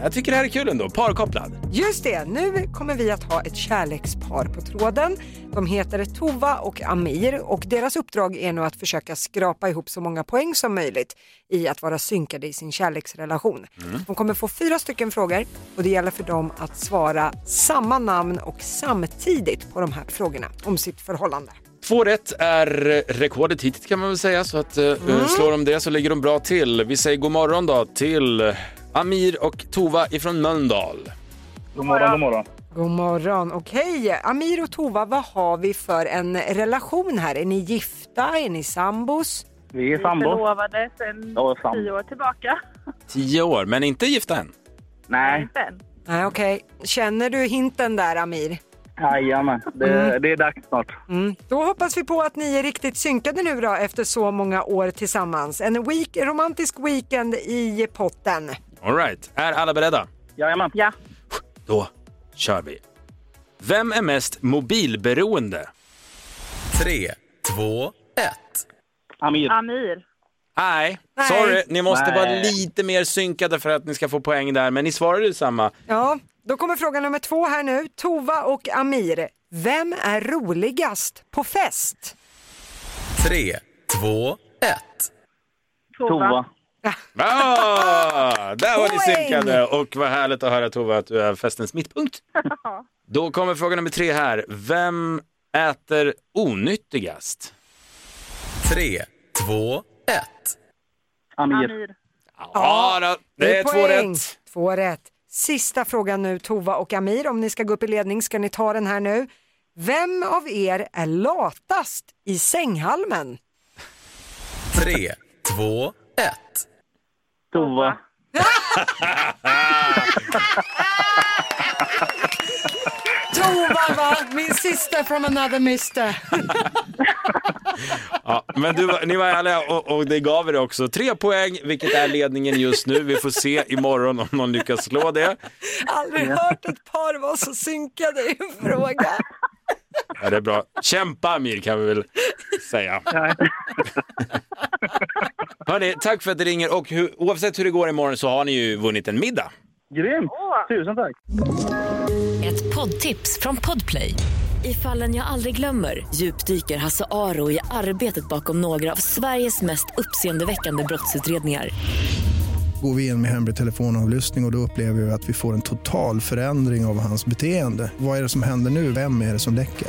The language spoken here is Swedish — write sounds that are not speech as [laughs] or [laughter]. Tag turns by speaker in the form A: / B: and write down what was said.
A: Jag tycker det här är kul ändå. Parkopplad.
B: Just det, nu kommer vi att ha ett kärlekspar på tråden. De heter Tova och Amir och deras uppdrag är nu att försöka skrapa ihop så många poäng som möjligt i att vara synkade i sin kärleksrelation. De kommer få fyra stycken frågor och det gäller för dem att svara samma namn och samtidigt på de här frågorna om sitt förhållande.
A: Två rätt är eh, rekordet hittills kan man väl säga. Så att, eh, slår de det så ligger de bra till. Vi säger god morgon då till eh, Amir och Tova ifrån Mölndal.
C: God morgon, god morgon.
B: God morgon. Okej, Amir och Tova, vad har vi för en relation här? Är ni gifta? Är ni sambos?
C: Vi är
D: Vi är
C: sambos.
D: förlovade sedan
C: Ja, sam-
D: tio år tillbaka.
A: Tio år, men inte gifta än.
C: Nej,
D: Sen.
B: Nej, okej. Känner du hinten där, Amir?
C: jajamän. Det, det är dags snart.
B: Mm. Då hoppas vi på att ni är riktigt synkade nu då efter så många år tillsammans. En week, romantisk weekend i potten.
A: All right. Är alla beredda?
C: Jajamän.
D: Ja.
A: Då kör vi. Vem är mest mobilberoende?
E: 3, 2, 1.
C: Amir.
D: Amir.
A: Nej,
B: Nej.
A: sorry. Ni måste
C: Nej.
A: vara lite mer synkade för att ni ska få poäng där, men ni svarade ju samma.
B: Ja, då kommer fråga nummer två här nu. Tova och Amir, vem är roligast på fest?
E: 3, 2, 1.
D: Tova.
C: Tova.
A: Ah, där var ni
B: Poäng!
A: synkade och vad härligt att höra Tova att du är festens [laughs] mittpunkt. Då kommer fråga nummer tre här. Vem äter onyttigast?
E: 3, 2, 1.
C: Amir.
D: Amir.
A: Ja, då, det är två
B: poäng.
A: rätt.
B: Två rätt. Sista frågan nu, Tova och Amir, om ni ska gå upp i ledning ska ni ta den här nu. Vem av er är latast i sänghalmen?
E: 3, 2, 1.
C: Tova.
B: Tova va, min sister from another mister.
A: Ja, men du, var- ni var ärliga och, och det gav er också. Tre poäng, vilket är ledningen just nu. Vi får se imorgon om någon lyckas slå det.
B: Aldrig hört ett par vara så synkade i en fråga.
A: Ja, det är bra. Kämpa Amir kan vi väl säga. Hörni, tack för att ni ringer och hur, oavsett hur det går imorgon så har ni ju vunnit en middag.
C: Grymt! Tusen tack.
F: Ett poddtips från Podplay. I fallen jag aldrig glömmer djupdyker Hasse Aro i arbetet bakom några av Sveriges mest uppseendeväckande brottsutredningar.
G: Går vi in med hemlig telefonavlyssning och, och då upplever vi att vi får en total förändring av hans beteende. Vad är det som händer nu? Vem är det som läcker?